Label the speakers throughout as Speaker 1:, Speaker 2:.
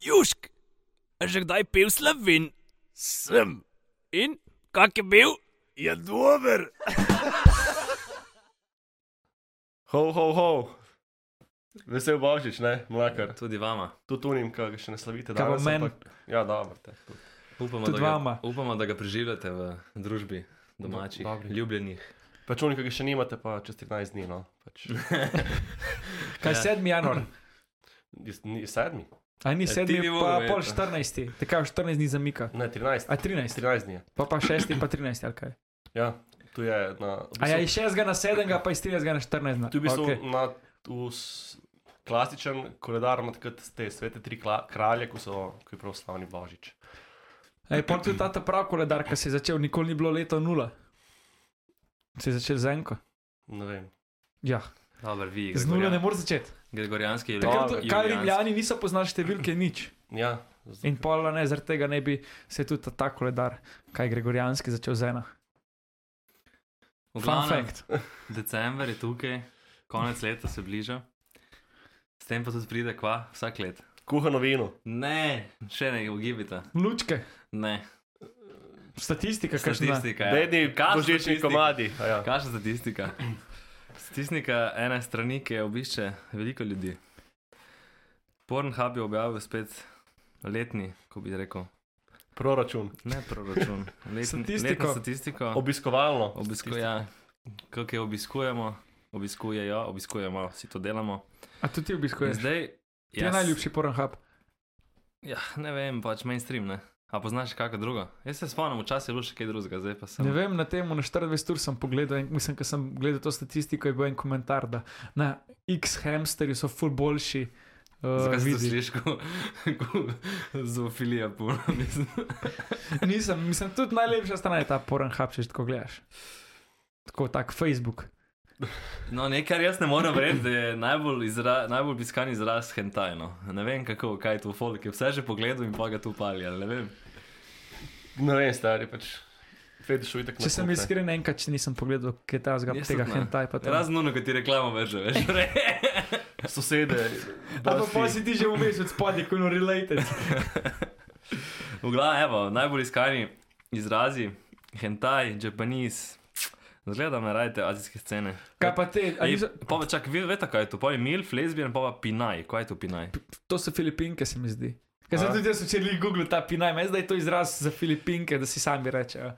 Speaker 1: Južk, a že kdaj pil slovin?
Speaker 2: Sem,
Speaker 1: In kak je bil?
Speaker 2: je dober.
Speaker 3: Ho, ho, ho. Vesel božič, ne, mlakar.
Speaker 4: Ja. Tudi vama.
Speaker 3: Tudi tunim, ki ga še ne slavite.
Speaker 5: Kaj pa
Speaker 3: danes,
Speaker 5: meni?
Speaker 3: ampak- Ja, dobro. te, tudi.
Speaker 4: Upamo da,
Speaker 5: Tudi
Speaker 4: ga,
Speaker 5: vama.
Speaker 4: upamo, da ga preživljate v družbi domačih,
Speaker 3: Do- dobrih.
Speaker 4: ljubljenih.
Speaker 3: Pač unim, ki ga še nimate, pa čez 13 dni, no. Pač,
Speaker 5: Kaj
Speaker 4: Ja.
Speaker 5: 7. januar?
Speaker 3: jaz- ni- sedmi?
Speaker 5: A ni
Speaker 4: ti
Speaker 5: 7.
Speaker 4: bi
Speaker 5: pa
Speaker 4: moral
Speaker 5: pol
Speaker 4: vedeti.
Speaker 5: 14. Tako 14 dni zamika.
Speaker 3: Ne, 13.
Speaker 5: A 13,
Speaker 3: 13 dni je.
Speaker 5: pa pa 6, pa 13 ali kaj.
Speaker 3: Ja, tu je na. v
Speaker 5: A ja,
Speaker 3: bistvu-
Speaker 5: iz 6 na 7, pa iz 13 na 14. na-
Speaker 3: Tu je v bistvu
Speaker 5: okej.
Speaker 3: okay. na tu s- klasičen koledar, ima takrat te svete tri kla, kralje, ko so ko je prav slavni Božič.
Speaker 5: Ej, pol tudi ta ta prav koledar, ki se je začel, nikoli ni bilo leto nula. Se je začel z enko.
Speaker 3: Ne vem.
Speaker 5: Ja,
Speaker 4: Dobro, vi,
Speaker 5: z nula ne
Speaker 4: Gregorijan,
Speaker 5: moreš začeti.
Speaker 4: Gregorijanski je
Speaker 5: Takrat, kar rimljani niso poznali številke nič.
Speaker 3: Ja, z-
Speaker 5: In pol ne, zaradi tega ne bi se je tudi ta, ta koledar, kaj gregorijanski, začel z ena. Fun fact.
Speaker 4: December je tukaj, konec leta se bliža. S tem pa tudi pride kva vsak let.
Speaker 3: kuhano vino.
Speaker 4: Ne, še ne ugibite.
Speaker 5: Lučke,
Speaker 4: Ne,
Speaker 5: statistika, kaj še znaš.
Speaker 4: statistika. ja.
Speaker 3: Bedni,
Speaker 4: Kakšna
Speaker 3: božični
Speaker 4: statistika?
Speaker 3: komadi. a Ja.
Speaker 4: Kakšna statistika? Statistika ene strani, ki jo obišče veliko ljudi. Pornhub je objavil spet letni, ko bi rekel,
Speaker 3: Proračun.
Speaker 4: ne proračun, letn,
Speaker 5: Statistiko.
Speaker 4: letno statistiko.
Speaker 3: Obiskovalno.
Speaker 4: Obiskuje, ja, kako jo obiskujemo, obiskujejo, obiskujemo, vsi to delamo.
Speaker 5: A tudi ti
Speaker 4: In
Speaker 5: obiskuješ?
Speaker 4: Zdaj,
Speaker 5: Ti je
Speaker 4: jaz-
Speaker 5: najljubši pornhub.
Speaker 4: Ja, ne vem, pač mainstream. Ne? A poznaš še kakšno drugo? Jaz se spomnim, včasih je bilo še kaj drugega, zdaj pa sem.
Speaker 5: Ne vem, na tem na 24 ur sem pogledal, in, mislim, ker sem gledal to statistiko, je bil en komentar, da na X hamsterju so ful boljši. Uh,
Speaker 4: Zakaj si to
Speaker 5: vidi.
Speaker 4: slišiš, kot zoofilija, puno, mislim.
Speaker 5: Nisem, mislim, tudi najlepša stran je ta pornhub, če že tako gledaš. Tako, tak Facebook.
Speaker 4: No, nekaj jaz ne morem verjeti, da je najbolj, izra, najbolj iskan izraz hentajno. Ne vem kako, kaj je to folk, je vse že pogledal in pa ga tu pali, ali ne vem.
Speaker 3: Ne vem, stari pač. Fetiš uvitek.
Speaker 5: Če sem iskren, enkrat še nisem pogledal, kaj je ta zga
Speaker 4: Jaz
Speaker 5: tega
Speaker 4: tudi ne.
Speaker 5: hentai. Pa tam.
Speaker 4: Razen ono, ki ti reklamo veže, veš.
Speaker 3: Sosede.
Speaker 5: Ali pa
Speaker 3: dosti-
Speaker 5: pol si ti že vmes od spodaj, ko je no related.
Speaker 4: V glavnem, evo, najbolj iskani izrazi, hentaj, japanese. Zgledam, ne rajte azijske scene.
Speaker 5: Kaj pa te, a
Speaker 4: Ej,
Speaker 5: niso,
Speaker 4: Pa pa čak, vi veste, kaj je to? Pa je milf, lesbijan, pa pa pinaj. Kaj je to pinaj?
Speaker 5: to so Filipinke, se mi zdi. Ker sem
Speaker 3: A?
Speaker 5: tudi jaz včeraj googlil ta pinaj, meni zdaj je to izraz za Filipinke, da si sami rečejo.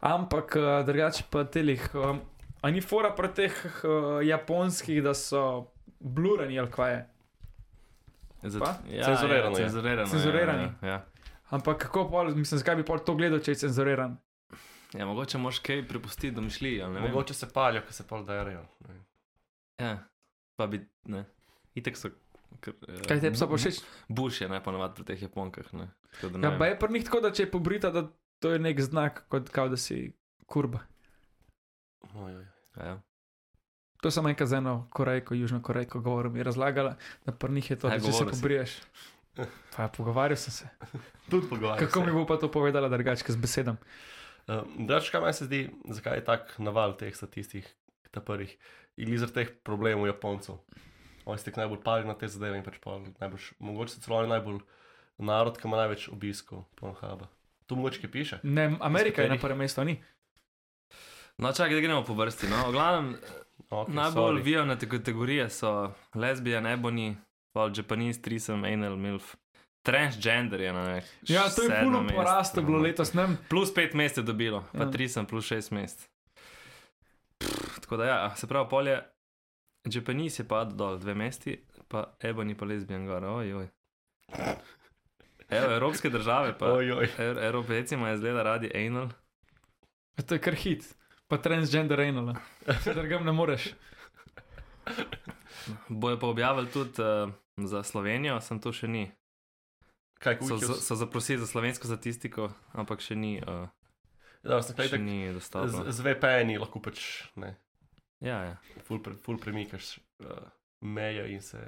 Speaker 5: Ampak eh, drugače pa telih, um, a ni fora pri teh uh, japonskih, da so blurani ali kaj je.
Speaker 4: Zat-
Speaker 5: Pa?
Speaker 4: Ja,
Speaker 3: Cenzurirano
Speaker 4: ja,
Speaker 3: je.
Speaker 4: Cenzurirano. ja,
Speaker 5: Cenzurirani.
Speaker 4: Ja, ja.
Speaker 5: Ampak kako pol, mislim, zakaj bi pol to gledal, če je cenzuriran?
Speaker 4: ja, mogoče moraš kaj prepustiti domišljiji, ali ne vem.
Speaker 3: Mogoče se palijo, ko se pol derajo. Ne vem.
Speaker 4: Ja, pa bi ne. Itek so. Kr, eh,
Speaker 5: Kaj te psa pa všeč?
Speaker 4: Buš je najponavadi pri teh Japonkah. Ne? Tako da ne
Speaker 5: Ja,
Speaker 4: vem.
Speaker 5: pa je pri njih tako, da če je pobrita, da to je nek znak, kot kao, da si kurba.
Speaker 3: Oj, oj.
Speaker 4: Ja.
Speaker 5: To sem enkrat z eno Korejko, Južno Korejko govorim, je razlagala, da pri njih je to,
Speaker 4: Aj,
Speaker 5: da če se
Speaker 4: govoril si.
Speaker 5: pobriješ. Pa ja, pogovarjal sem se.
Speaker 3: Tudi pogovarjam.
Speaker 5: Kako mi bo pa to povedala drugačka z besedam?
Speaker 3: Drugič, Eh, kaj meni se zdi, zakaj je tak naval teh statistik, ta prvih, ili zaradi teh problemov Japoncev. Oni ste najbolj pali na te zadeve in pač pol najbolj, mogoče so celo oni najbolj narod, ki ima največ obiskov, pornhuba. Tu mogoče kaj piše.
Speaker 5: Ne, Amerika je na
Speaker 3: katerih?
Speaker 5: prvem mestu, a ni.
Speaker 4: No, čakaj, da gremo po vrsti. No. V glavnem,
Speaker 3: Okay,
Speaker 4: najbolj
Speaker 3: sorry.
Speaker 4: vijavne kategorije so lesbijan, ebony, pol japanese, trisem, anal, milf. Transgender je na nek.
Speaker 5: Ja, to je
Speaker 4: sedmo
Speaker 5: puno
Speaker 4: mesto,
Speaker 5: porasto bilo
Speaker 4: no.
Speaker 5: letos, ne. vem.
Speaker 4: Plus pet mest je dobilo, pa
Speaker 5: Ja.
Speaker 4: ja. tri sem plus šest mest. Pff, tako da ja, se pravi, polje. Japanese je padel dol dve mesti, pa ebony pa lesbijan gor, ojoj. Evo, evropske države pa.
Speaker 3: Oj, oj.
Speaker 4: Ev- Evropejci imajo zgleda radi anal.
Speaker 5: To je kar hit. Pa transgender anal. Drgam ne moreš.
Speaker 4: Bojo pa objavili tudi uh, za Slovenijo, sem to še ni.
Speaker 3: Kaj
Speaker 4: So,
Speaker 3: kuhijo?
Speaker 4: so, so zaprosili za slovensko statistiko, ampak še ni, uh,
Speaker 3: Da, sem kaj
Speaker 4: še
Speaker 3: tak.
Speaker 4: ni
Speaker 3: Z,
Speaker 4: dostavljeno.
Speaker 3: z VPN-ji lahko pač ne,
Speaker 4: Ja, ja.
Speaker 3: ful, pre, ful premikaš uh, meje in se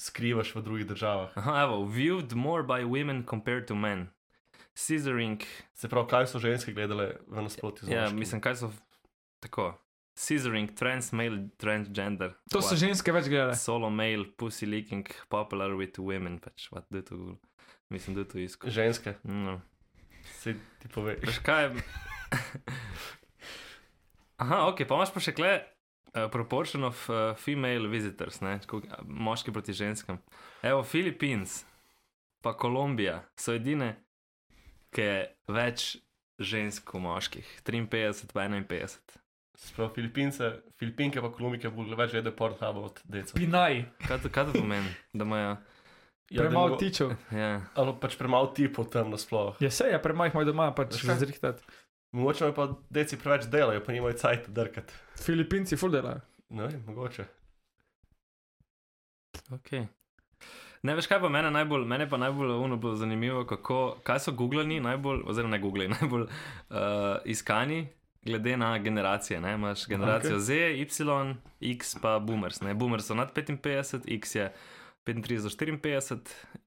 Speaker 3: skrivaš v drugih državah.
Speaker 4: Aha, evo, viewed more by women compared to men. Scissoring,
Speaker 3: Se pravi, kaj so ženske gledale v nasprotju z
Speaker 4: Ja,
Speaker 3: moškimi?
Speaker 4: mislim, kaj so. v- Tako. scissoring, trans male, transgender.
Speaker 5: To so
Speaker 4: What?
Speaker 5: ženske več gledale.
Speaker 4: Solo male, pussy leaking, popular with women, pač, what do to, mislim, do to isko.
Speaker 3: Ženske,
Speaker 4: No.
Speaker 3: se ti pove.
Speaker 4: Veš kaj? Aha, ok, pa imaš pa še kle. Uh, proportion of uh, female visitors, ne, tako, a, moški proti ženskam. Evo, Filipins, pa Kolumbija so edine, ki je več žensk kot moških, 53 pa 51.
Speaker 3: Sprav Filipince, Filipinke pa Kolumbike bo več vedel Pornhub od deca.
Speaker 5: Pinaj,
Speaker 4: Kaj to, kaj to pomeni? Da imajo.
Speaker 3: Ja, da mogo-
Speaker 5: premalo tičev.
Speaker 4: Ja.
Speaker 3: Ali pač premalo tipov tam nasploh.
Speaker 5: Ja, se je, premalo jih imajo doma, pač
Speaker 3: Veš kaj?
Speaker 5: zrihtati.
Speaker 3: Mogoče imajo pa deci preveč delajo, pa nimajo cajt drkati.
Speaker 5: Filipinci ful delajo.
Speaker 3: Ne vem, mogoče.
Speaker 4: Okay. Ne veš, kaj pa mene najbolj, mene pa najbolj ono bilo zanimivo, kako, kaj so googlani najbolj, oziroma ne googli, najbolj uh, iskani, glede na generacije. Ne? Imaš generacijo
Speaker 3: Ok.
Speaker 4: okay. Z, Y, X pa boomers. Ne? Boomers so nad 55, X je 35 do 54,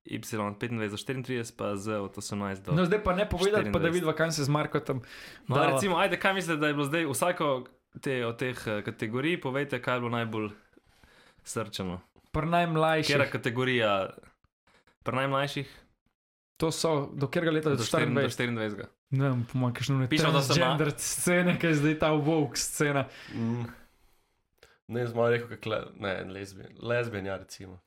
Speaker 4: Y 25 do 34, pa Z od 18 do.
Speaker 5: No, zdaj pa ne povedati, pa da
Speaker 4: 24.
Speaker 5: vidiva, kam se z Markotom.
Speaker 4: No,
Speaker 5: dava.
Speaker 4: recimo, ajde, kaj mislite, da je bilo zdaj vsako te, od teh eh, kategorij, povejte, kaj je bilo najbolj srčano.
Speaker 5: Pri
Speaker 4: Kera
Speaker 5: najmlajših,
Speaker 4: kategorija, pri najmlajših?
Speaker 5: to so, do katerega leta? Do 24.
Speaker 4: 24.
Speaker 5: Ne vem, po mojem, kakšno ne
Speaker 4: Pišem, da so ma-
Speaker 5: gender scene, ki je zdaj ta woke scena.
Speaker 3: Mm. Ne, z mojo reko, kako le, ne, lezbijan, lezbijan, ja, recimo.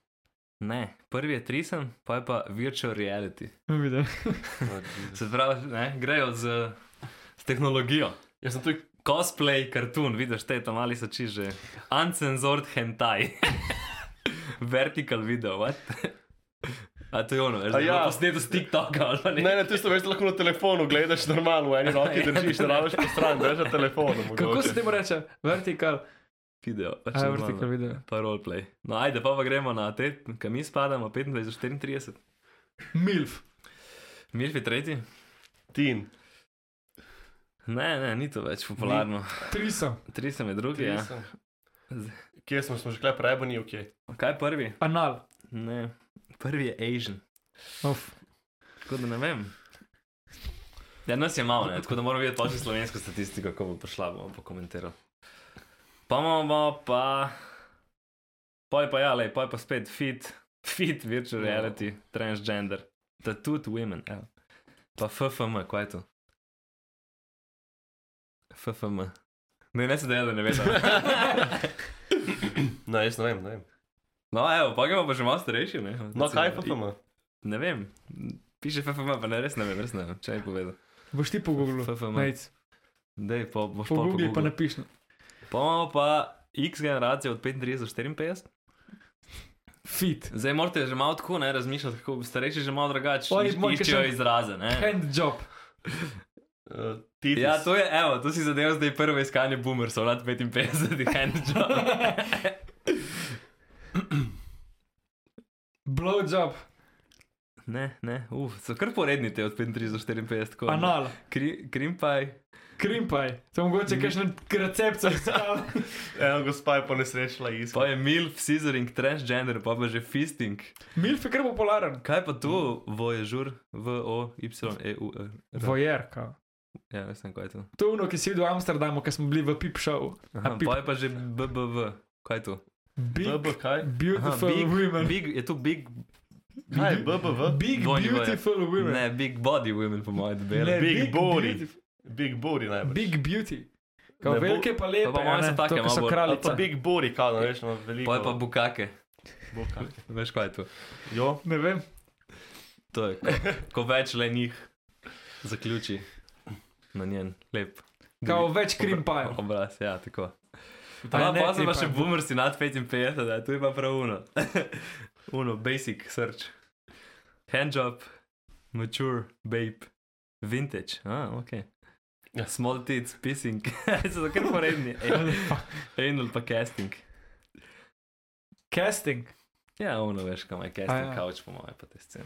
Speaker 4: Ne, prvi je trisen, pa je pa virtual reality.
Speaker 5: No, vidim.
Speaker 3: No, Jesus.
Speaker 4: Se pravi, ne, grejo z, z tehnologijo.
Speaker 3: Jaz sem tudi,
Speaker 4: Cosplay, kartun, vidiš te tam ali so či že. Uncensored hentai. Vertical video, what? A to je ono,
Speaker 3: A
Speaker 4: že
Speaker 3: ja.
Speaker 4: ja. posneto s TikToka ali pa
Speaker 3: ne,
Speaker 4: ne.
Speaker 3: ne, tisto veš, da lahko na telefonu gledaš normalno, v eni roki držiš, ne rabiš po stran, držiš na telefonu.
Speaker 5: Kako se
Speaker 3: mogoče.
Speaker 5: temu reče? Vertikal.
Speaker 4: Video, pač
Speaker 5: A,
Speaker 4: normalno.
Speaker 5: vertikal video.
Speaker 4: Pa roleplay. No, ajde, pa pa gremo na te, kam mi spadamo, 25 do 34.
Speaker 5: Milf.
Speaker 4: Milfi tretji?
Speaker 3: Tin,
Speaker 4: Ne, ne, ni to več popularno.
Speaker 5: Trisem.
Speaker 4: Tri sem je drugi, ja.
Speaker 3: Nisem. Kje smo, smo že kle prebani, ok.
Speaker 4: Kaj je prvi?
Speaker 5: Anal.
Speaker 4: Ne, prvi je Asian.
Speaker 5: Of.
Speaker 4: Tako da ne vem. Ja, nas je malo, ne? tako da moramo videti točno slovensko statistiko, kako bo prišla, bomo pokomentirali. Pa imamo pa. Poj pa ja, lej, poj pa spet fit, fit virtual
Speaker 3: Ja.
Speaker 4: reality, transgender, tattooed women, evo. Pa FFM, kaj je to? FFM. Ne, ne se dela, da ne veš.
Speaker 3: No, jaz ne vem, ne vem.
Speaker 4: No, evo, pa gremo pa že malo starejši, ne?
Speaker 3: No, kaj pa tam?
Speaker 4: Ne vem, piše FFM, pa ne, res ne vem, res ne vem, če je povedal.
Speaker 5: Boš ti pogooglil.
Speaker 4: FFM.
Speaker 5: Nejc.
Speaker 4: Dej, pa boš pol
Speaker 5: Pogoogli pa
Speaker 4: pogooglil.
Speaker 5: napiš.
Speaker 4: Pa imamo pa X generacijo od 35 do 54.
Speaker 5: Fit.
Speaker 4: Zdaj morate že malo tako ne, razmišljati, kako bi starejši že malo drugače
Speaker 5: Oni
Speaker 4: iš-
Speaker 5: moj, ki
Speaker 4: iščejo
Speaker 5: še-
Speaker 4: izraze. Ne?
Speaker 5: Hand job.
Speaker 3: E, Ti,
Speaker 4: Ja, to je, evo, to si zadev zdaj prvo iskanje boomersov, nad 55, handjob.
Speaker 5: Blow job.
Speaker 4: Ne, ne, uf, so kar poredni te od 35 do 54. Tako, ne.
Speaker 5: Anal.
Speaker 4: Kri, krimpaj.
Speaker 5: Krimpaj. To mogoče kakšen recept za
Speaker 3: Eno gospa je ponesrečila iz.
Speaker 4: Pa je milf, scissoring, transgender, pa pa že fisting.
Speaker 5: Milf je kar popularen.
Speaker 4: Kaj pa to,
Speaker 5: Mm.
Speaker 4: voježur, V-O-Y-E-U-R?
Speaker 5: Vojerka.
Speaker 4: E. Ja, veš, kaj je to.
Speaker 5: To je ono, ki si videl v Amsterdamu, ko smo bili v Pip Show.
Speaker 4: Aha,
Speaker 5: pip-
Speaker 4: pa je pa že BBV. Kaj je to?
Speaker 5: Big,
Speaker 3: BB, kaj?
Speaker 5: beautiful
Speaker 4: big,
Speaker 5: women.
Speaker 4: Big, je to big,
Speaker 3: Kaj, BBV?
Speaker 5: Big,
Speaker 4: Dvojni vojer.
Speaker 5: beautiful women.
Speaker 4: ne, big body women, po mojem, debele.
Speaker 5: Ne,
Speaker 3: Big body.
Speaker 5: beautif-
Speaker 3: Big Bori najbolj.
Speaker 5: Big beauty. Kao
Speaker 3: Ne bo-
Speaker 5: velike pa lepe.
Speaker 4: pač. pa po mojem
Speaker 5: a ne,
Speaker 4: so take
Speaker 5: to, ki
Speaker 4: malo
Speaker 5: so
Speaker 4: bolj-
Speaker 3: Ali
Speaker 5: kraljice.
Speaker 3: pa Big Bori, kaj ne veš, ima veliko.
Speaker 4: Pa je pa bukake.
Speaker 3: boka.
Speaker 4: Veš, kaj je to?
Speaker 3: Jo,
Speaker 5: Ne vem.
Speaker 4: To je, ko, ko več le njih zaključi na njen lep
Speaker 5: Kao več krimpajev.
Speaker 4: obraz. Ja, tako.
Speaker 5: A
Speaker 4: Pa
Speaker 5: ne,
Speaker 4: pozno pa še
Speaker 5: krimpajev.
Speaker 4: boomersi nad 55, da to je pa prav uno. uno, basic search. Handjob, mature, babe, vintage. Ah, ok.
Speaker 3: Ja.
Speaker 4: Small tits, pissing. so kar poredni.
Speaker 5: Ja,
Speaker 4: Anal pa casting.
Speaker 5: Casting.
Speaker 4: Ja, ono veš, kam je casting
Speaker 5: A ja.
Speaker 4: ja. couch, po mojem, pa te scene.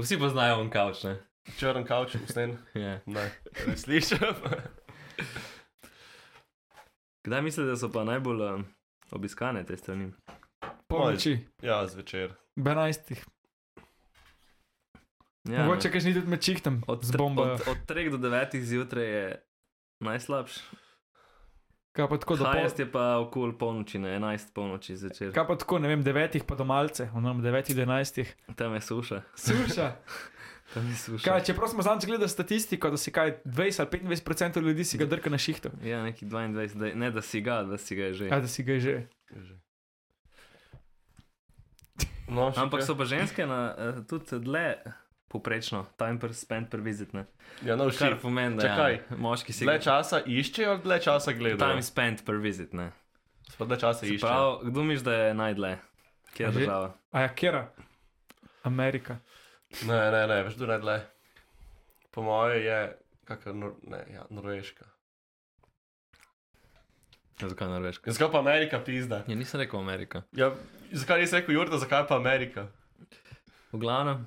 Speaker 4: Vsi poznajo on couch, ne?
Speaker 3: črn kavč, usnen.
Speaker 4: Ja.
Speaker 3: Ne, ne slišim.
Speaker 4: Kdaj mislite, da so pa najbolj um, obiskane te strani?
Speaker 5: Polnoči.
Speaker 3: ja, zvečer.
Speaker 5: 12.
Speaker 4: Ja,
Speaker 5: Mogoče
Speaker 4: ne.
Speaker 5: kaj ni tudi med čihtom.
Speaker 4: od,
Speaker 5: Z
Speaker 4: tre-
Speaker 5: bombo.
Speaker 4: od, od 3 do 9 zjutraj je najslabš,
Speaker 5: Kaj pa tako do pol,
Speaker 4: Hajest je pa okoli polnoči, ne 11 polnoči zvečer.
Speaker 5: kaj pa tako, ne vem, devetih pa do malce, oziroma devetih do enajstih.
Speaker 4: Tam je suša.
Speaker 5: Suša.
Speaker 4: Tam je suša.
Speaker 5: Kaj, čeprav smo zadnjič gledali statistiko, da si kaj 20 ali 25 odstotkov ljudi si ga drka na šihtu.
Speaker 4: Ja, neki 22, da, ne da si ga, da si ga je že.
Speaker 5: Ja, da si ga je že.
Speaker 3: Že. No, še
Speaker 4: Ampak
Speaker 3: kaj?
Speaker 4: so pa ženske na, eh, tudi dlje poprečno, time per spend per visit. Ne?
Speaker 3: ja, no,
Speaker 4: Kar
Speaker 3: še
Speaker 4: pomeni, da
Speaker 3: čakaj.
Speaker 4: ja, moški si
Speaker 3: dlje časa iščejo, ali dlje časa gledajo.
Speaker 4: Time spend per visit. Ne?
Speaker 3: Pa dlje časa
Speaker 4: Se
Speaker 3: iščejo.
Speaker 4: Prav, kdo misli, da je najdlje? Kje je
Speaker 5: A že?
Speaker 4: država?
Speaker 5: A ja, kera? Amerika.
Speaker 3: Ne, ne, ne, veš, da ne dlje. Po moje je kakšna nor ne, ja, norveška.
Speaker 4: Ja, Zakaj Norveška?
Speaker 3: Ja, Zakaj pa Amerika pizda?
Speaker 4: Ja, nisem rekel Amerika.
Speaker 3: Ja, zakaj nisi rekel Jurda, zakaj pa Amerika?
Speaker 4: V glavnem,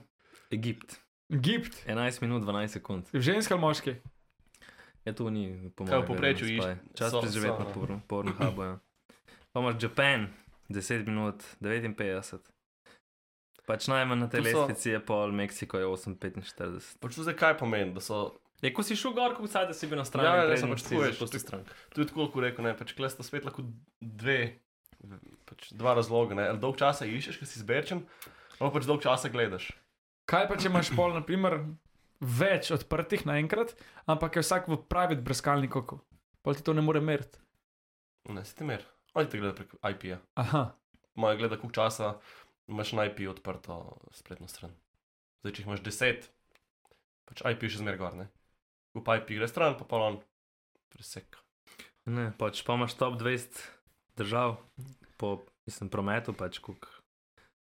Speaker 4: Egipt.
Speaker 5: Egipt.
Speaker 4: 11 minut 12 sekund.
Speaker 5: Ženska ali moški?
Speaker 4: Ja, to ni po
Speaker 3: Kaj v
Speaker 4: mojem.
Speaker 3: povprečju
Speaker 4: verjetno spaj.
Speaker 3: iš-
Speaker 4: Čas
Speaker 3: so-
Speaker 4: preživeti
Speaker 3: so,
Speaker 4: na
Speaker 3: ne.
Speaker 4: porn- Pornhubu. Ja. Pa imaš Japan, 10 minut 59. Pač najmanj na tej
Speaker 3: To so-
Speaker 4: lestvici je pol, Meksiko je 8,45.
Speaker 3: Pač to zakaj pomeni, da so
Speaker 4: Je, ko si šel gor, kot vsaj, da si bil na strani,
Speaker 3: Ja, ja,
Speaker 4: preden
Speaker 3: jaz sem pač
Speaker 4: si
Speaker 3: tako, veš,
Speaker 4: zapustil
Speaker 3: tako-
Speaker 4: stran.
Speaker 3: Tudi tako, kot rekel, ne, pač kle sta svet lahko dve, pač dva razloga. Ne. Ali dolg časa iščeš, ker si izberčen, ali pač dolg časa gledaš.
Speaker 5: Kaj pa, če imaš pol, naprimer, več odprtih naenkrat, ampak je vsak v pravi brskalni koko. Pol ti to ne more meriti.
Speaker 3: Ne, si ti mer. Oni te gledajo prek IP-ja.
Speaker 5: Aha,
Speaker 3: Moje gleda, koliko časa imaš na IP odprto spletno stran. Zdaj, če jih imaš deset, pač IP je še zmer gor, ne. Ko pa IP gre stran, pa pa on preseka.
Speaker 4: Ne, pač pa imaš top 20 držav po mislim, prometu, pač kuk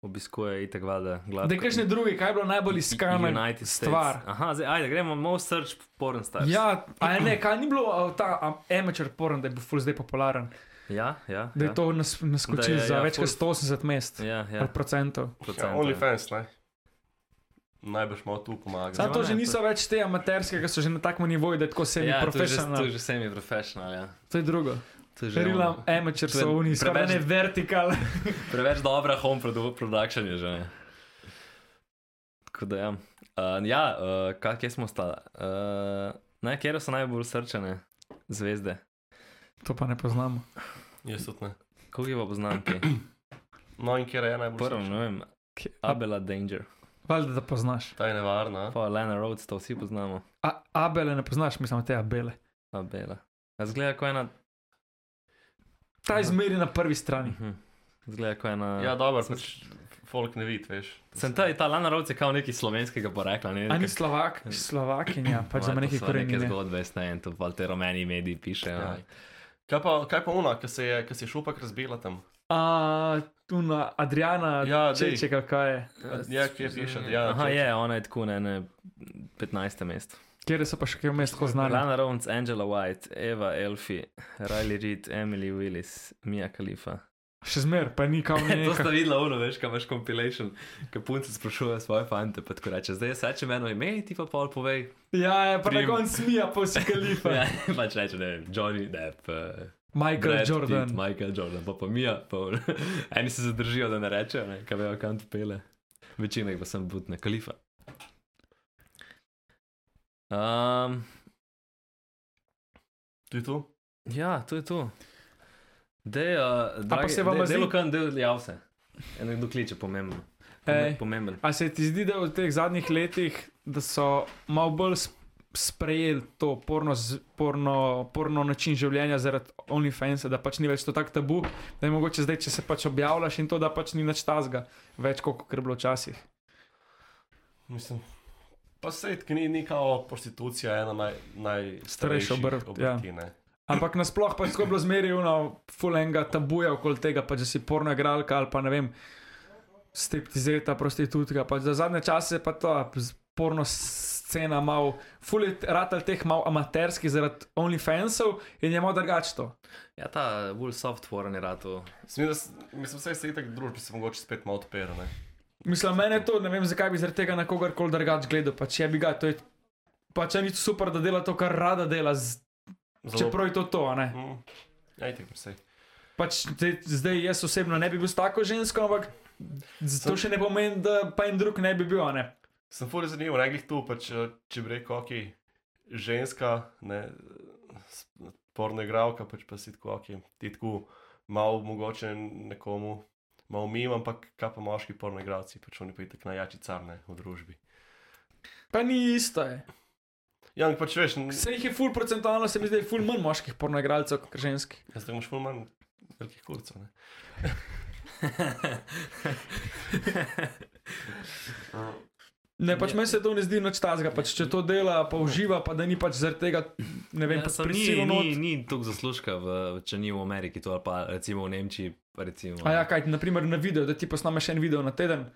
Speaker 4: obiskuje itek vada glavne.
Speaker 5: da je kakšne druge, kaj je bilo najbolj iskana
Speaker 4: United States.
Speaker 5: stvar.
Speaker 4: Aha, zdaj, ajde, gremo, most search porn stars.
Speaker 5: Ja, a je ne, kaj ni bilo a, ta a, amateur porn, da je bil full zdaj popularen,
Speaker 4: ja, ja.
Speaker 5: da je
Speaker 4: ja.
Speaker 5: to nas,
Speaker 4: Da
Speaker 5: naskočil
Speaker 4: je,
Speaker 5: za
Speaker 4: ja,
Speaker 5: več kot
Speaker 4: ful-
Speaker 5: 180 mest.
Speaker 4: Ja, ja.
Speaker 5: ali Procentov.
Speaker 3: Ja,
Speaker 4: procentov, ja.
Speaker 3: OnlyFans, ne. Najbrž malo tu pomaga.
Speaker 5: Zato to
Speaker 4: ne,
Speaker 5: že
Speaker 4: to-
Speaker 5: niso več te amaterske, ki so že na takem nivoju, da je tako
Speaker 4: Ja, to je že- to je
Speaker 5: semi-profesionalno.
Speaker 4: že semi-professional, ja.
Speaker 5: To je drugo.
Speaker 4: To je že ono.
Speaker 5: Relam, amateur
Speaker 4: To je
Speaker 5: so oni, skoraj
Speaker 4: preveč-
Speaker 5: ne vertikal.
Speaker 4: Preveč dobra home produ production je že. ne. Tako da ja. Uh, ja, uh, kaj kje smo ostali? Uh, ne, kje so najbolj srčane zvezde?
Speaker 5: To pa ne poznamo.
Speaker 3: Jaz tudi ne.
Speaker 4: Koliko jih pa poznam ti?
Speaker 3: No in kjer je najbolj
Speaker 4: Prvo, ne vem, Abela Danger,
Speaker 5: Valjda, da poznaš.
Speaker 3: Ta je nevarna.
Speaker 4: pa Lena Rhodes, to vsi poznamo.
Speaker 5: A, abele ne poznaš, mislim, te abele.
Speaker 4: Abela. A Zgleda kot ena.
Speaker 5: Ta
Speaker 4: Ja.
Speaker 5: je zmeri na prvi strani.
Speaker 4: Mhm. Zgleda kot ena.
Speaker 3: Ja, dobro,
Speaker 4: sem-
Speaker 3: pač folk ne vidi, veš.
Speaker 4: Sem ta, ta Lena Rhodes je kao neki slovenskega porekla. Ne,
Speaker 5: A ni
Speaker 4: Nekak-
Speaker 5: Slovak, Slovakinja, pač za nekaj
Speaker 4: Neke
Speaker 5: korenine.
Speaker 4: zgodbe, ne vem, to pa te rumeni mediji pišejo.
Speaker 3: Ja. Kaj pa, kaj pa ona, ki se je, ki se je šupak razbila tam?
Speaker 5: A, tu na Adriana, ja,
Speaker 3: Ja, dej.
Speaker 5: Čečeka, kaj je.
Speaker 3: Ja, kje piše, ja.
Speaker 4: Aha,
Speaker 3: če-
Speaker 4: je, ona je tako na ne, 15. mestu.
Speaker 5: Kjer so pa še kaj vmes tako znali?
Speaker 4: Lana Rowns, Angela White, Eva Elfi, Riley Reid, Emily Willis, Mia Khalifa.
Speaker 5: Še zmer, pa ni kao
Speaker 4: to sta
Speaker 5: nekaj.
Speaker 4: videla, ono, veš, kaj imaš compilation, ki punce sprašuje svoje fante, pa tako reče, zdaj se če meno ime, ti pa pol povej.
Speaker 5: Ja, je, pa na
Speaker 4: Prim.
Speaker 5: koncu smija, pa si kalifa.
Speaker 4: Ja, pač reče, ne vem, Johnny Depp, uh,
Speaker 5: Michael
Speaker 4: Brad
Speaker 5: Jordan.
Speaker 4: Pitt, Michael Jordan, pa pa Mia, pa ono. eni se zadržijo, da ne rečejo, ne, kaj vejo, kam to pele. Večina jih pa sem butne, kalifa. Um,
Speaker 3: Ti tu?
Speaker 4: Ja, to je to. Dej, uh, dragi,
Speaker 5: se vama zdi-
Speaker 4: Delo, kam del jav se. ja, Eno kdo kliče, pomemben.
Speaker 5: Ej.
Speaker 4: Pome- Pomemben.
Speaker 5: A se ti zdi, da v teh zadnjih letih, da so malo bolj s- sprejeli to porno, z- porno, porno način življenja zaradi OnlyFansa, da pač ni več to tak tabu, da je mogoče zdaj, če se pač objavljaš in to, da pač ni nič tazga, več kot je bilo včasih.
Speaker 3: Mislim. Pa sej, ki ni, ni kao prostitucija, ena naj, najstarejših
Speaker 5: Starejša obrt, ja.
Speaker 3: obrti, ne.
Speaker 5: Ampak nasploh pač tako je bilo zmerjeno, fulenga tabuja okoli tega, pač da si porno igralka ali pa ne vem, striptizeta, prostitutka. Pač za zadnje čase je pa ta z- porno scena malo, fulet ratal teh malo amaterskih zaradi OnlyFansov in je malo drugače to.
Speaker 4: Ja, ta bolj soft forum je rato.
Speaker 3: Mislim, da s- mislim, sej se itak družbi se mogoče spet malo odpira, ne.
Speaker 5: Mislim, meni je to, ne vem zakaj bi zaradi tega na kogarkoli drugače gledal, pač je bi ga, to je pač je nič super, da dela to, kar rada dela, z,
Speaker 3: Zelo-
Speaker 5: čeprav je to to, a ne.
Speaker 3: Mm. Ja, itak, sej.
Speaker 5: Pač zdaj, zdaj jaz osebno ne bi bil s tako žensko, ampak z- to še ne pomeni, da pa en drug ne bi bil. a Ne?
Speaker 3: Sem fully zanimiv, ne glih tu, pač, eh, če bi rekel, ok, ženska, ne, s- porno igralka, pač pa si tako, ok, ti tako malo mogoče nekomu, malo mi, ampak kaj pa moški porno igralci, pač oni pa je tako najjači carne v družbi.
Speaker 5: Pa ni isto. Je.
Speaker 3: Ja, ampak pač veš, n-
Speaker 5: Se jih je ful procentualno, se mi zdi, ful manj moških pornoigralcev kot ženskih.
Speaker 3: jaz tako imaš ful manj velikih kurcev. ne.
Speaker 5: Ne, pač
Speaker 4: Ja.
Speaker 5: meni se to ne zdi nič tazga, pač če to dela, pa uživa, pa da ni pač zaradi tega, ne vem,
Speaker 4: Ja,
Speaker 5: ja, pač
Speaker 4: samo ni,
Speaker 5: prisilno.
Speaker 4: ni, ni toliko zaslužka, v, če ni v Ameriki, to ali pa recimo v Nemčiji. Recimo.
Speaker 5: A ja, kaj, naprimer na video, da ti posnameš en video na teden,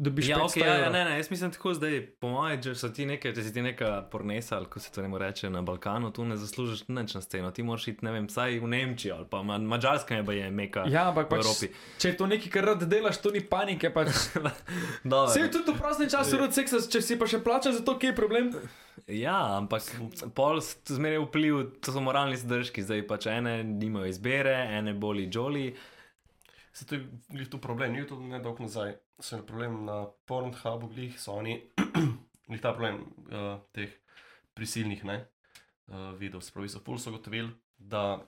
Speaker 5: dobiš
Speaker 4: Ja,
Speaker 5: 500
Speaker 4: okay, ja, ja,
Speaker 5: evrov.
Speaker 4: ne, ne, jaz mislim tako zdaj, po mojem, če si ti neka, če si ti neka pornesa ali kako se to ne more reče na Balkanu, tu ne zaslužiš nič na sceno, ti moraš iti, ne vem, vsaj v Nemčijo ali pa ma, Mačarska je pa je meka.
Speaker 5: Ja, ampak
Speaker 4: V
Speaker 5: pač,
Speaker 4: Evropi.
Speaker 5: če je to nekaj, kar rad delaš, to ni panike. Pač.
Speaker 4: Dobro.
Speaker 5: Se je tudi v prostem času rad seksa, če si pa še plača za to, kje je problem.
Speaker 4: Ja, ampak pol s- zmeraj je vpliv, to so moralni zadržki, zdaj pač ene nimajo izbire, ene boli žoli.
Speaker 3: Se to je glih tu problem, ni to nedolgo nazaj. Se je problem na Pornhubu, glih so oni, glih ta problem uh, teh prisilnih ne, uh, videov. Spravi so ful so gotovili, da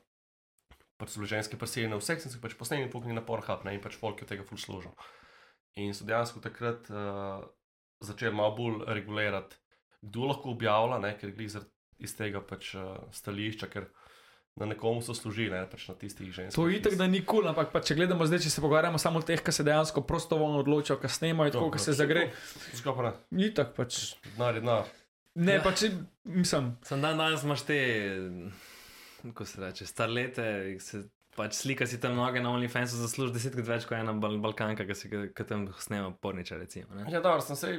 Speaker 3: pač so bile ženske prisiljene v seks in so jih pač posneli in puknili na Pornhub ne, in pač folk je od tega ful služil. In so dejansko takrat uh, začeli malo bolj regulirati, kdo lahko objavlja, ne, ker glih zar- iz tega pač uh, stališča, ker na nekomu so služili, ne pač na tistih ženskih.
Speaker 5: To je
Speaker 3: ki
Speaker 5: itak,
Speaker 3: so-
Speaker 5: da ni kul, cool, ampak pa če gledamo zdaj, če se pogovarjamo samo o teh, ki se dejansko prostovoljno odločijo, ki snemajo, tako,
Speaker 3: no,
Speaker 5: ki se zagre.
Speaker 3: Zgoraj,
Speaker 5: Ni tako pač.
Speaker 3: denar je denar.
Speaker 4: Ja.
Speaker 5: Ne, pač mislim.
Speaker 4: Sam dan danes imaš te, kako se reče, starlete, ki se pač slika si tam noge na OnlyFansu, zasluži desetkrat več kot ena bal Balkanka, ki se ga- ki tam snema porniča. Recimo, ne.
Speaker 3: Ja, dobro, sem sej.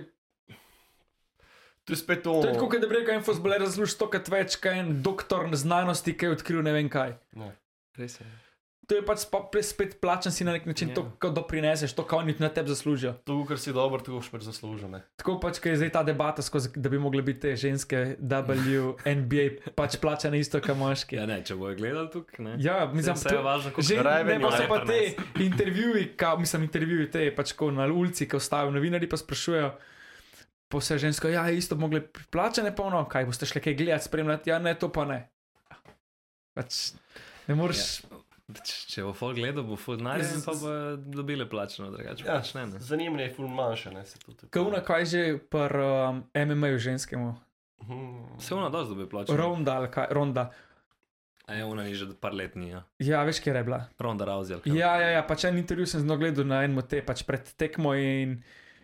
Speaker 3: Tu je spet to.
Speaker 5: To je tako, kot da bi rekel, en fosboler razloži stokrat več, kaj en doktor znanosti, ki je odkril ne vem kaj.
Speaker 3: Ne.
Speaker 4: Res je.
Speaker 5: To je pač pa pres- spet plačen si na nek način, yeah. to,
Speaker 4: Ja.
Speaker 5: kar doprineseš, to, kar oni na tebi zaslužijo.
Speaker 3: To, kar si dober, to boš pač zaslužil. ne.
Speaker 5: Tako pač, ker je zdaj ta debata, skozi, da bi mogle biti te ženske WNBA pač plačane isto, kot moški.
Speaker 4: Ja, ne, če bojo gledali tukaj, ne.
Speaker 5: Ja, mislim,
Speaker 4: vse je važno, kako
Speaker 5: Že ne
Speaker 3: raven
Speaker 5: pa
Speaker 3: je
Speaker 5: so pa te
Speaker 4: prinesel.
Speaker 5: intervjuji, ka, mislim, intervjuji te pač ko na ulici, ki ostajajo novinari, pa sprašujejo. Pa vse žensko, ja, isto bi mogli plačane polno, kaj boste šli kaj gledati, spremljati, ja, ne, to pa ne. Pač ne moreš.
Speaker 4: Če- Če bo folk gledal, bo folk
Speaker 3: Ja,
Speaker 4: najdel,
Speaker 3: z-
Speaker 4: pa bo dobile plačano, drugače pa
Speaker 3: Ja,
Speaker 4: pač ne. ne.
Speaker 3: Zanimanje je ful manjše, ne se tudi.
Speaker 5: Kavuna, kaj že pr um, MMA-ju ženskemu,
Speaker 3: Mhm.
Speaker 4: Vse ona dosti dobi plačano.
Speaker 5: ronda ali kaj, ronda.
Speaker 4: A je ona ni že par let ni, ja.
Speaker 5: Ja, veš, kje je bila.
Speaker 4: Ronda Rousey. ali kaj.
Speaker 5: Ja, ja, ja, pač en intervju sem z njo gledal na enem te, pač pred tekmo in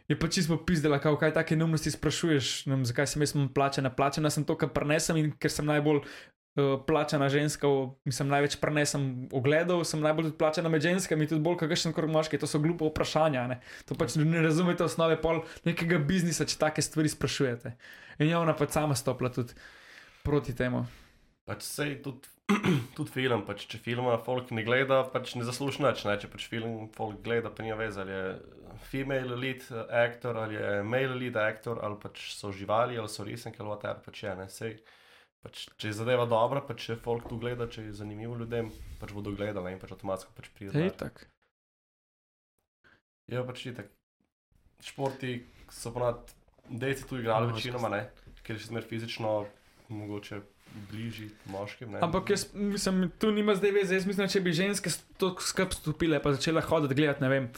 Speaker 5: je pač čisto pizdela, kako kaj take neumnosti sprašuješ, nam, zakaj sem jaz plačena. Plačena sem to, kar prenesem in ker sem najbolj uh, plačena ženska, v- mislim, največ prenesem ogledov, sem najbolj tudi plačena med ženskami, tudi bolj kakšen kot moški. To so glupa vprašanja, ne? to pač ne razumete osnove pol nekega biznisa, če take stvari sprašujete. In je ona pač sama stopla tudi proti temu.
Speaker 3: Pač sej tudi, tudi film, pač, če filma folk ne gleda, pač ne zasluži nič. Ne? Če pač film folk gleda, pa ni veze, ali je female lead actor ali je male lead actor ali pač so živali ali so resenke ali whatever, pač je ne. Sej, pač, če je zadeva dobra, pač če folk tu gleda, če je zanimivo ljudem, pač bodo gledali in pač avtomatsko pač pride.
Speaker 5: Je
Speaker 3: denar.
Speaker 5: tako.
Speaker 3: Ja, pač je tako. Športi so ponad, deci tu igrali
Speaker 4: No,
Speaker 3: večinoma, ne, ker je še zmeraj fizično mogoče bližji moškim. Ne?
Speaker 5: Ampak jaz mislim, tu nima zdaj veze. Jaz mislim, če bi ženske to skrb stopile, pa začele hoditi gledati, ne vem,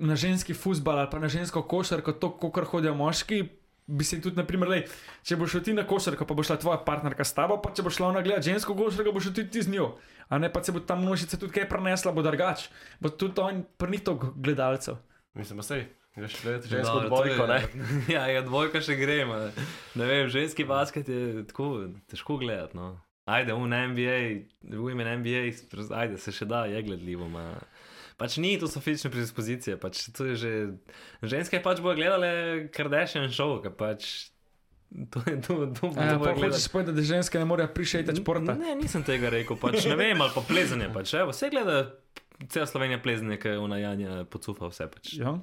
Speaker 5: na ženski futbal ali pa na žensko košarko, to, kar hodijo moški. Bi se tudi, naprimer, lej, če boš šel ti na košarko, pa bo šla tvoja partnerka s tabo, pa če boš šla ona gledati žensko košarko, boš šel tudi ti z njo. A ne pa se bo ta množica tudi kaj prenesla, bo drugač. Bo tudi on prnito gledalcev.
Speaker 3: Mislim, da sej, greš gledati
Speaker 4: No,
Speaker 3: žensko
Speaker 4: to
Speaker 3: odbojko,
Speaker 4: je-
Speaker 3: ne.
Speaker 4: Ja, ja, dvojka še gremo. Ne. ne vem, ženski basket je tako težko gledati. No. Ajde, un NBA, women NBA, spr- ajde, se še da, je gledljivo. Ma. Pač ni, to so fizične predispozicije. Pač to je že... Ženske pač bojo gledale Kardashian show, ki pač... To je to, to, to,
Speaker 5: Ja,
Speaker 4: bojo
Speaker 5: pa
Speaker 4: gledale.
Speaker 5: hočeš povedati, da ženske ne morejo prišejati športa.
Speaker 4: Ne, nisem tega rekel, pač ne vem, ali pa plezanje. Pač, evo, vse gleda, cela Slovenija plezanje, ki je unajanja, pocufa vse. Pač.
Speaker 5: Ja.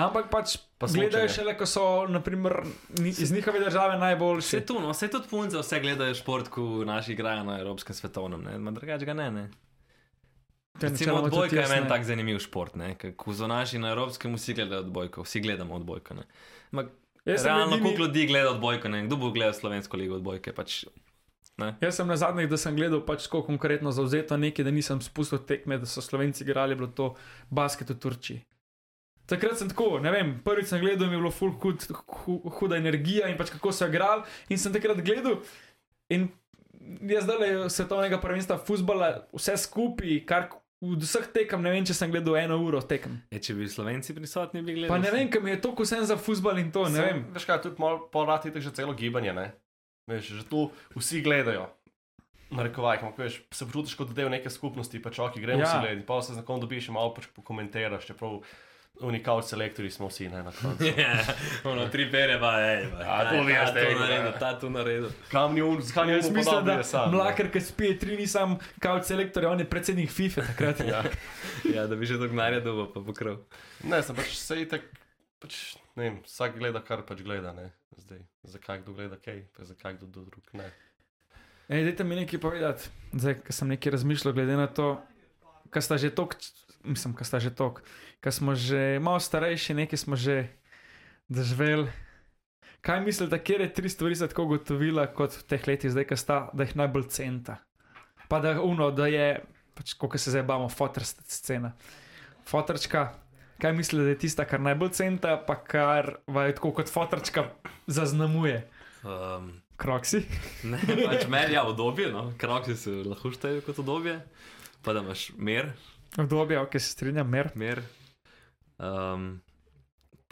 Speaker 5: Ampak pač
Speaker 3: Pa
Speaker 5: gledajo
Speaker 3: smučanje.
Speaker 5: šele, ko so naprimer, ni, iz njihove države najboljši.
Speaker 4: Vse to, no, vse tudi punce, vse gledajo šport, ko naši igrajo na evropskem svetovnem, ne, Ma drugače ga ne. ne.
Speaker 5: Ja,
Speaker 4: Recimo
Speaker 5: načeloma tudi
Speaker 4: odbojka
Speaker 5: jaz
Speaker 4: je
Speaker 5: ne.
Speaker 4: meni tak zanimiv šport, ne, ker ko so naši na evropskem, vsi gledajo odbojko, vsi gledamo odbojko, ne. Ma,
Speaker 5: Jaz sem
Speaker 4: realno,
Speaker 5: edini-
Speaker 4: koliko ljudi gleda odbojko, ne, kdo bo gledal slovensko ligo odbojke, pač Ne?
Speaker 5: Jaz sem na zadnjih, da sem gledal pač tako konkretno zauzeto nekaj, da nisem spustil tekme, da so Slovenci igrali, je bilo to basket v Turčiji. Takrat sem tako, ne vem, prvič sem gledal, mi je bilo full hud, hu- huda energija in pač kako so igrali. In sem takrat gledal in jaz zdaj le svetovnega prvenstva futbola, vse skupaj, kar v vseh tekem, ne vem, če sem gledal eno uro tekem.
Speaker 4: E, če bi Slovenci prisotni bili
Speaker 5: Pa
Speaker 4: gledali.
Speaker 5: ne vem, kam je to, ko sem za futbol in to, ne vem.
Speaker 3: Veš kaj, tudi malo povratite že celo gibanje, ne? Veš, že tu vsi gledajo. Narekovaj, ampak veš, se počutiš kot del neke skupnosti, pa čoki gremo
Speaker 5: Ja.
Speaker 3: ja. si gledati, pa se z nekom dobiš in malo pač pokomentiraš, čeprav unikal selektori smo vsi, ne na koncu.
Speaker 4: Ja, ono, tri pere, pa je.
Speaker 3: A, to bi jaz rekel, ja.
Speaker 4: ta to naredil.
Speaker 3: Kam ni un, zakaj ni
Speaker 5: Jaz
Speaker 3: un,
Speaker 5: mislim, da mlakar, ki spije tri, nisem kao selektor, on je predsednik FIFA E takrat.
Speaker 3: Ja.
Speaker 4: Ja, da bi že dognarja dobo, pa pokrov.
Speaker 3: Ne, sem pač sej tak, pač, ne vem, vsak gleda, kar pač gleda, ne, zdaj. Zakaj kdo gleda kaj, pa zakaj kdo drug ne.
Speaker 5: Ej, dajte mi nekaj povedati, zdaj, ker sem nekaj razmišljal, glede na to, kar sta že tok, mislim, kar sta že tok, kar smo že malo starejši, nekaj smo že doživeli. Kaj mislite, kje je tri stvari za tako gotovila, kot v teh letih zdaj, ki sta, da jih najbolj centa? Pa da uno, da je, pač, kako se zdaj bavimo, fotorska scena. Fotorčka, kaj mislite, da je tista, kar najbolj centa, pa kar vaju tako kot fotorčka zaznamuje?
Speaker 4: Um,
Speaker 5: Kroksi?
Speaker 4: ne, pač merja obdobje, no, kroki se lahko štejejo kot obdobje, pa da imaš mer,
Speaker 5: Obdobje, ok, se strinjam, mer.
Speaker 4: mer. Um,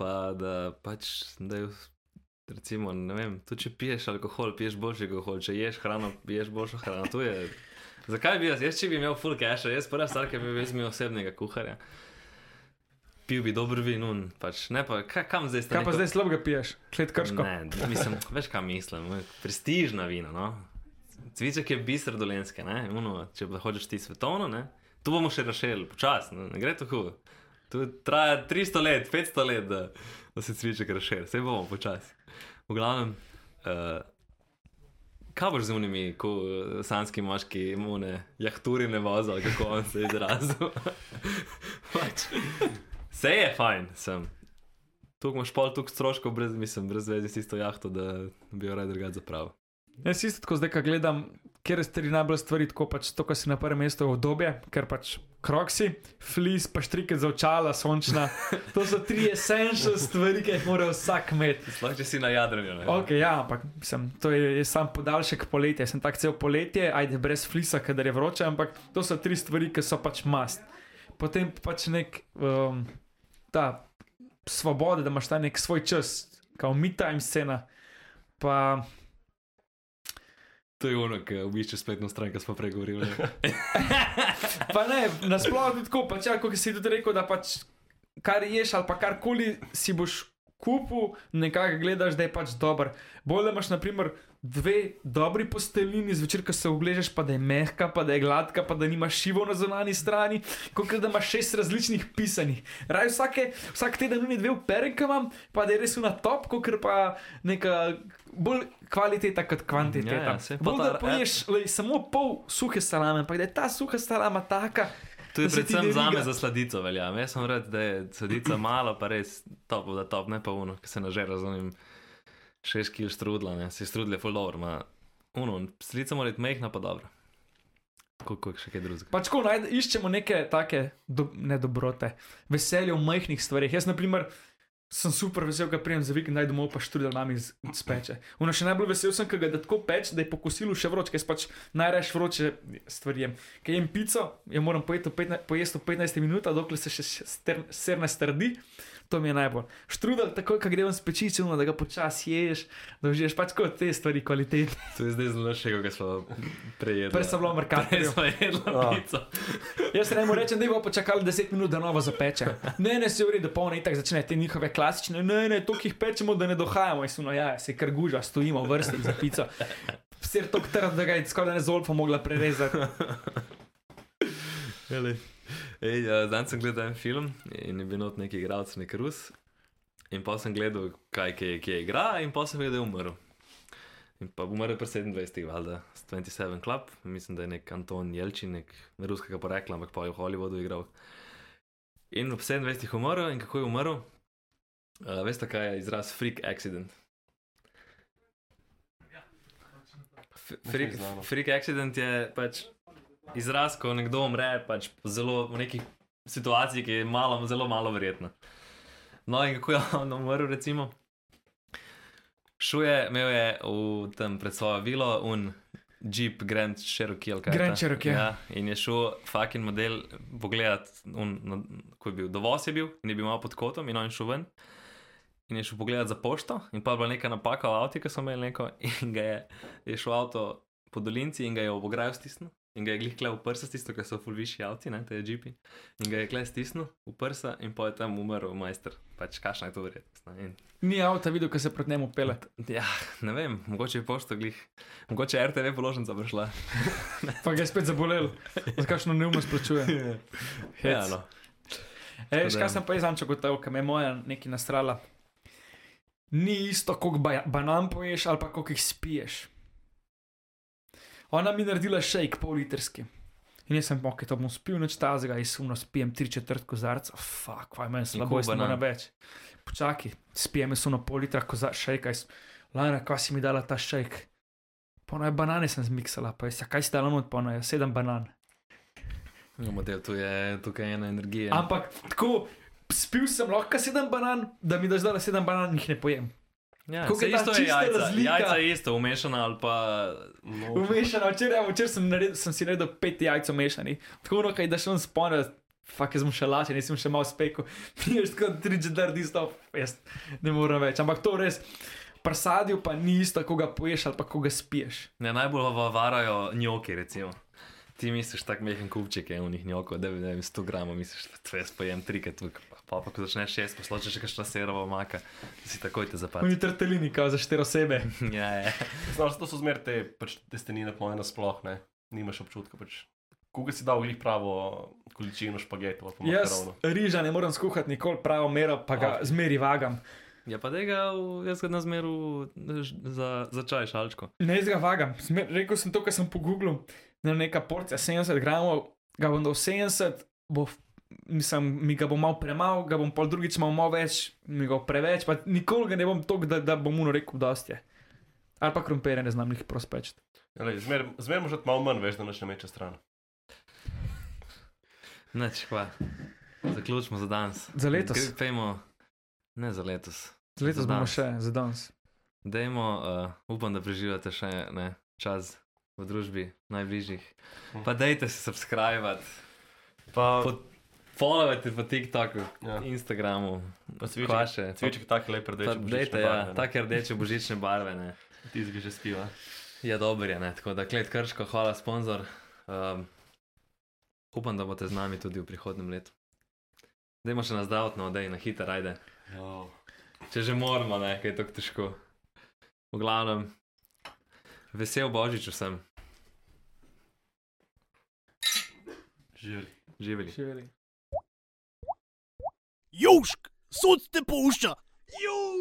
Speaker 4: pa da pač, da je, recimo, ne vem, tudi če piješ alkohol, piješ boljši alkohol, če ješ hrano, piješ boljšo hrano. To je, zakaj bi jaz, jaz če bi imel full cache, jaz prva stvar, ki bi imel, jaz bi imel osebnega kuharja. Pil bi dober vinun, pač ne pa, ka, kam zdaj ste?
Speaker 5: Kaj pa zdaj slabega piješ, klet krško?
Speaker 4: Ne, mislim, veš, kaj mislim, prestižna vina. No? Cviček je biser dolenske, ne? Uno, če pa hočeš ti svetovno, ne? tu bomo še rešili, počasno, ne? ne gre tako. Tu traja 300 let, 500 let, da, da se cviček reši, vse bomo počasi. V glavnem, uh, kaj boš z unimi, ko eh, sanski moški imune, jahturi ne voza, ali kako on se je izrazil. pač, vse je fajn, sem. Tu imaš pol toliko stroškov, brez, mislim, brez veze s tisto jahto, da bi jo raje drugače zapravil.
Speaker 5: Jaz isto tako zdaj, ko gledam, kjer ste tri najbolj stvari, tako pač to, kar si na prvem mestu obdobje, ker pač kroksi, flis, pa štrike za očala, sončna. To so tri essential stvari, ki jih mora vsak imeti.
Speaker 4: Sploh če si na jadranju. ne.
Speaker 5: Ok, ja, ampak sem, to je, je sam podaljšek poletja, sem tak cel poletje, ajde brez flisa, kadar je vroče, ampak to so tri stvari, ki so pač mast. Potem pač nek um, ta svoboda, da imaš ta nek svoj čas, kot mi time scena. Pa
Speaker 4: To je ono, ki obišče spletno stran, ki smo pregovorili.
Speaker 5: Pa ne, nasplošno je tako, pač, ja, kot si tudi rekel, da pač kar ješ ali pa karkoli si boš kupil, nekaj gledaš, da je pač dober. Bolje imaš, na primer, dve dobri posteljini zvečer, ko se ogležeš, pa da je mehka, pa da je gladka, pa da nimaš šivo na zunanji strani, kot da imaš šest različnih pisanih. Raj vsake, vsak teden ni dve upere, ki imam, pa da je res na top, kot pa neka bolj kvaliteta kot kvantiteta.
Speaker 4: Ja, ja, saj, pa
Speaker 5: bolj,
Speaker 4: ta-
Speaker 5: da poješ lej, samo pol suhe salame, ampak da je ta suha salama taka.
Speaker 4: To je
Speaker 5: da se ti
Speaker 4: predvsem
Speaker 5: ne
Speaker 4: za me
Speaker 5: liga.
Speaker 4: za sladico velja. Jaz sem rad, da je sladica mala, pa res top, da top, ne pa uno, ki se nažera z onim 6 kg strudla, ne se strudle full over. Ma. Uno, sladica mora biti mehna, pa dobra. Kako je še kaj drugega?
Speaker 5: Pač ko najde, iščemo neke take do, nedobrote, veselje v majhnih stvarih. Jaz, na primer, sem super vesel, ko prijem za vikend domov, pa študijo nami speče. Uno še najbolj vesel sem, ker ga da tako peč, da je po kosilu še vroče, ker jaz pač najraš vroče stvari. jem. Ker jem pico, jo moram pojeti v 15 pojesti v 15 minutah, dokler se še stern, ser ne strdi. To mi je najbolj. Štrudel, tako kot gremo s pečičem, da ga počasi ješ, da užiješ pač kot te stvari kvalitete.
Speaker 4: To je zdaj zelo še, kaj smo prejedli.
Speaker 5: Prej sem bila
Speaker 4: Prej
Speaker 5: v merkatorju.
Speaker 4: smo jedli pico.
Speaker 5: Jaz ne morem reči, da bo počakali 10 minut, da novo zapeče. Ne, ne, se uredi, polno itak začne te njihove klasične, ne, ne, to, ki jih pečemo, da ne dohajamo, in suno, ja, se kar guža, stojimo v vrsti za pico. Sir tok trd, da ga je skoraj ne zolfa mogla prerezati.
Speaker 4: Ej, eh, Danes sem gledal en film in je bil not neki igralec, nek Rus. In pa sem gledal, kaj je, kje igra, in pa sem videl, da je umrl. In pa umrl je pri 27, valjda, s 27 Club, mislim, da je nek Anton Jelčin, nek ruskega porekla, ampak pa je v Hollywoodu igral. In ob 27 je umrl, in kako je umrl? Uh, veste, kaj je izraz freak accident? f-
Speaker 3: ni
Speaker 4: freak,
Speaker 3: znano.
Speaker 4: freak accident je pač izraz, ko nekdo umre pač zelo, v neki situaciji, ki je malo, zelo malo verjetna. No, in kako je on umrl, recimo? Šuje imel je v tem pred svojo vilo un Jeep Grand Cherokee. ali kaj je
Speaker 5: Grand
Speaker 4: ta?
Speaker 5: Cherokee, ja.
Speaker 4: Ja, in je šel fucking model pogledat, un, na, ko je bil dovoz, je bil, in je bil malo pod kotom, in on je šel ven. In je šel pogledat za pošto, in pa je bila neka napaka v avtu, ki so imeli neko, in ga je, je šel avto po dolinci in ga je ob ograjo stisnil. In ga je glih klev v prsa, tisto, ki so fulvišji avti, ne, te jeepi. In ga je klev stisnil v prsa, in pa je tam umrl, majster. Pač kašna je to verjetnost. ne, in-
Speaker 5: Ni avta videl, kaj se proti njemu pele.
Speaker 4: Ja, ne vem, mogoče je pošto glih, mogoče je RTV položnica prišla.
Speaker 5: Pa ga je spet zabolel, za kakšno neumnost plačuje.
Speaker 4: ja, no.
Speaker 5: Reš,
Speaker 4: da-
Speaker 5: kaj sem pa jaz ančakotal, kaj me je moja nekaj nastrala. Ni isto, koliko ba banan poješ ali pa koliko jih spiješ. Ona mi je naredila shake, pol litrski. In jaz sem pa, ki to bom spil, noč tazega, jaz sumno spijem tri četrt kozarca, fuck, kvaj meni slabo,
Speaker 4: koliko
Speaker 5: jaz ne morem
Speaker 4: banan?
Speaker 5: več. Počakaj, spijem jaz sumno pol litra kozarca, shake, jaz, Lana, kaj si mi dala ta shake? Ponaj banane sem zmiksala, pa jaz, "Ja, kaj si dala not, ponaj, sedem banan.
Speaker 4: Ja, model, tu je tukaj ena energija.
Speaker 5: Ampak tako, spil sem lahko sedem banan, da mi daš dala sedem banan, jih ne pojem.
Speaker 4: ja,
Speaker 5: kako
Speaker 4: saj
Speaker 5: je ta čista
Speaker 4: jajca.
Speaker 5: razlika?
Speaker 4: Jajca je isto, umešana ali pa.
Speaker 3: No,
Speaker 5: Umešano, včeraj, včeraj sem, naredil, sem si naredil pet jajc umešanih, tako no, kaj daš on sponil. Fak, jaz sem še lačen, jaz sem še malo spekel, piješ kot tri četrti stop, jaz ne morem več. Ampak to res, prsadil pa ni isto, koga poješ ali pa koga spiješ.
Speaker 4: Ne, najbolj va- varajo njoki, recimo. Ti misliš, tak mehen kupček je v njih njoko, da bi ne vem, 100 gramov, misliš, da to jaz pojem trikrat, tukaj, pa, pa, pa ko začneš jesti, posločiš še kakšna serova maka, si takoj te zapade.
Speaker 5: Oni trtelini, kao za štiri osebe.
Speaker 4: ja, ja.
Speaker 3: Znaš, to so zmer te pač, testenine, pojena sploh ne. Nimaš občutka. Pač. Koga si dal glih pravo količino špagetov, pa
Speaker 5: Jaz
Speaker 3: makarona.
Speaker 5: riža ne morem skuhati nikoli pravo mero, pa ga
Speaker 3: Ok.
Speaker 5: zmeri vagam.
Speaker 4: ja, pa tega jaz ga nazmeru za, za čaj šalčko.
Speaker 5: Ne, jaz ga vagam. Sme- Rekel sem to, kar sem pogooglil. Ne, neka porcija 70 gramov, ga bom dal 70, bo, f- mislim, mi ga bo malo premalo, ga bom pol drugič malo, malo več, mi ga bo preveč, pa nikoli ga ne bom toliko, da, da bom mu rekel, da ste. Ali pa krompirje ne znam jih prospeč.
Speaker 3: Glej, Zmer, zmer moraš dati malo manj, veš, da noč ne meče stran.
Speaker 4: Neč, hva. Zaključimo za danes.
Speaker 5: Za letos.
Speaker 4: Gre- Pejmo, ne za letos.
Speaker 5: Letos
Speaker 4: Za
Speaker 5: bomo
Speaker 4: danes.
Speaker 5: še za danes.
Speaker 4: Dajmo, uh, upam, da preživljate še ne, čas v družbi najbližjih. Pa dajte se subskrbati.
Speaker 3: Pa,
Speaker 4: Pod- Followajte po TikToku,
Speaker 3: Ja.
Speaker 4: ja. Instagramu,
Speaker 3: pa
Speaker 4: kvaše.
Speaker 3: cviček, cviček tako lep,
Speaker 4: Pa
Speaker 3: rdeč.
Speaker 4: Dajte, ja, take rdeče božične barve. Ne.
Speaker 3: Tizgi že spiva.
Speaker 4: Je dober, Ja, je, ne. tako da klet krško, hvala, sponzor. Um, upam, da boste z nami tudi v prihodnem letu. Dajmo še na zdravotno, da je na hitro, ajde.
Speaker 3: Jo.
Speaker 4: Če že moramo, ne, kaj je tako težko. V glavnem, vesel božič vsem,
Speaker 3: Živeli.
Speaker 4: živeli.
Speaker 5: Živeli.
Speaker 1: Južk, sod te pušča. Južk.